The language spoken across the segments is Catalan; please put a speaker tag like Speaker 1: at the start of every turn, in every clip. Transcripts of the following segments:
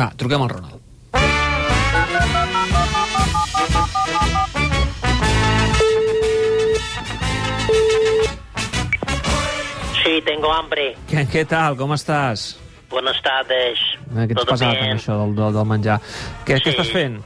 Speaker 1: Va, truquem al Ronald.
Speaker 2: Sí, tengo hambre.
Speaker 1: Què, què tal? Com estàs?
Speaker 2: Buenas tardes.
Speaker 1: Eh, Què t'has
Speaker 2: ¿Todo
Speaker 1: passat
Speaker 2: bien?
Speaker 1: amb això del, del, del menjar? Què,
Speaker 2: Sí.
Speaker 1: què estàs fent?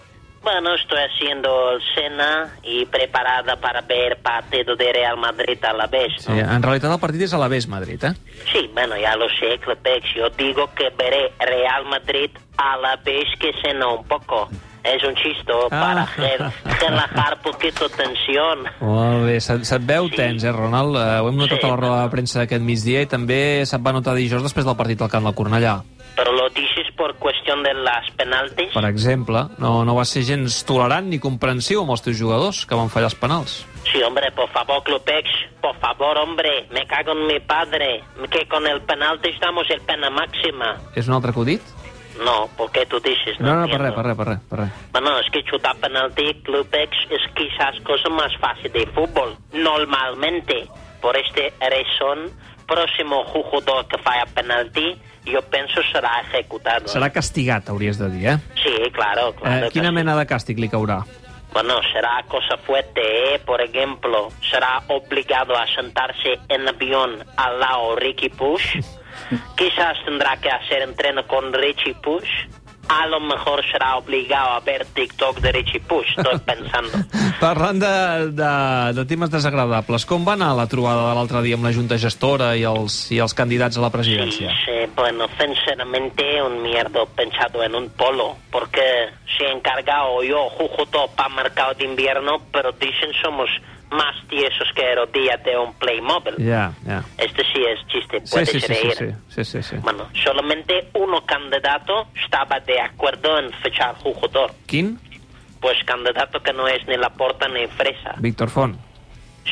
Speaker 2: Bueno, estoy haciendo cena y preparada para ver partido de Real Madrid a la vez.
Speaker 1: Sí,
Speaker 2: ¿no?
Speaker 1: en realitat el partit és a l'Aves Madrid, eh?
Speaker 2: Sí, bueno, ya lo sé, Clepex. Yo digo que veré Real Madrid a la vez que cena un poco. Es un chisto para
Speaker 1: Ah.
Speaker 2: re- relajar poquito tensión.
Speaker 1: Molt bé, se't, se't veu
Speaker 2: Sí.
Speaker 1: tens, eh, Ronald? Eh, ho hem notat
Speaker 2: Sí.
Speaker 1: a la roda de premsa d'aquest migdia i també se't va notar dijous després del partit al Camp del Cornellà.
Speaker 2: Pero lo dices por cuestión de las penaltis.
Speaker 1: Per exemple, no, no va ser gens tolerant ni comprensiu amb els teus jugadors que van fallar els penals.
Speaker 2: Sí, hombre, por favor, Clupex, por favor, hombre, me cago en mi padre, que con el penalti damos el pena máxima.
Speaker 1: És un altre acudit?
Speaker 2: No, ¿por qué tú dices?
Speaker 1: No, no, per
Speaker 2: entiendo.
Speaker 1: res, per res, per res. Per res.
Speaker 2: Bueno, es que chutar penalti, Clubex, es quizás cosa más fácil de fútbol, normalmente. Por este razón, próximo jugador que falla penalti, yo pienso será ejecutado.
Speaker 1: Serà castigat, hauries de dir, eh?
Speaker 2: Sí, claro, claro.
Speaker 1: eh
Speaker 2: que
Speaker 1: quina
Speaker 2: sí.
Speaker 1: mena de càstig li caurà?
Speaker 2: Bueno, será cosa fuerte, ¿eh? Por ejemplo, será obligado a sentarse en avión al lado Ricky Push. Quizás tendrá que hacer entreno con Richie Push. A lo mejor será obligado a ver TikTok de Richie Push, estoy pensando.
Speaker 1: Parlant de, de, de temes desagradables, com va anar la trobada de l'altre dia amb la Junta Gestora i els, i els candidats a la
Speaker 2: Sí,
Speaker 1: presidència?
Speaker 2: sí, bueno, sinceramente un mierdo pensado en un polo, porque se he encargado yo justo para mercado de invierno, pero dicen somos más tiesos que rodillas de un Playmobil.
Speaker 1: Ja, ja.
Speaker 2: Este sí es chiste,
Speaker 1: Sí,
Speaker 2: puedes
Speaker 1: sí, sí, sí,
Speaker 2: reír.
Speaker 1: sí, sí, sí, sí.
Speaker 2: Bueno, solamente uno candidato estaba de acuerdo en fichar jugador.
Speaker 1: Quin?
Speaker 2: Pues candidato que no es ni la porta ni fresa.
Speaker 1: Víctor Font.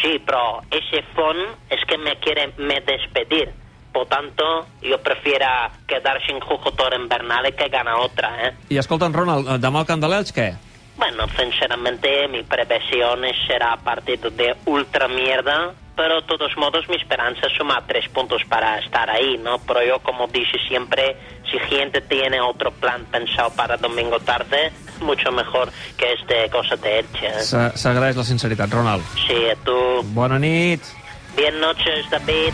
Speaker 2: Sí, pero ese fon es que me quiere me despedir. Por tanto, yo prefiero quedar sin jugador en Bernal que gana otra, ¿eh?
Speaker 1: I escolta'm, Ronald, eh, demà al Camp de l'Elx, què?
Speaker 2: Bueno, sinceramente, mi previsión es será partido de ultra mierda, pero de todos modos mi esperanza suma tres puntos para estar ahí, ¿no? Pero yo, como dice siempre, si gente tiene otro plan pensado para domingo tarde, mucho mejor que este cosa de Elche. ¿eh?
Speaker 1: S'agraeix la sinceritat, Ronald.
Speaker 2: Sí, tú.
Speaker 1: Bona nit.
Speaker 2: Bien noches, David.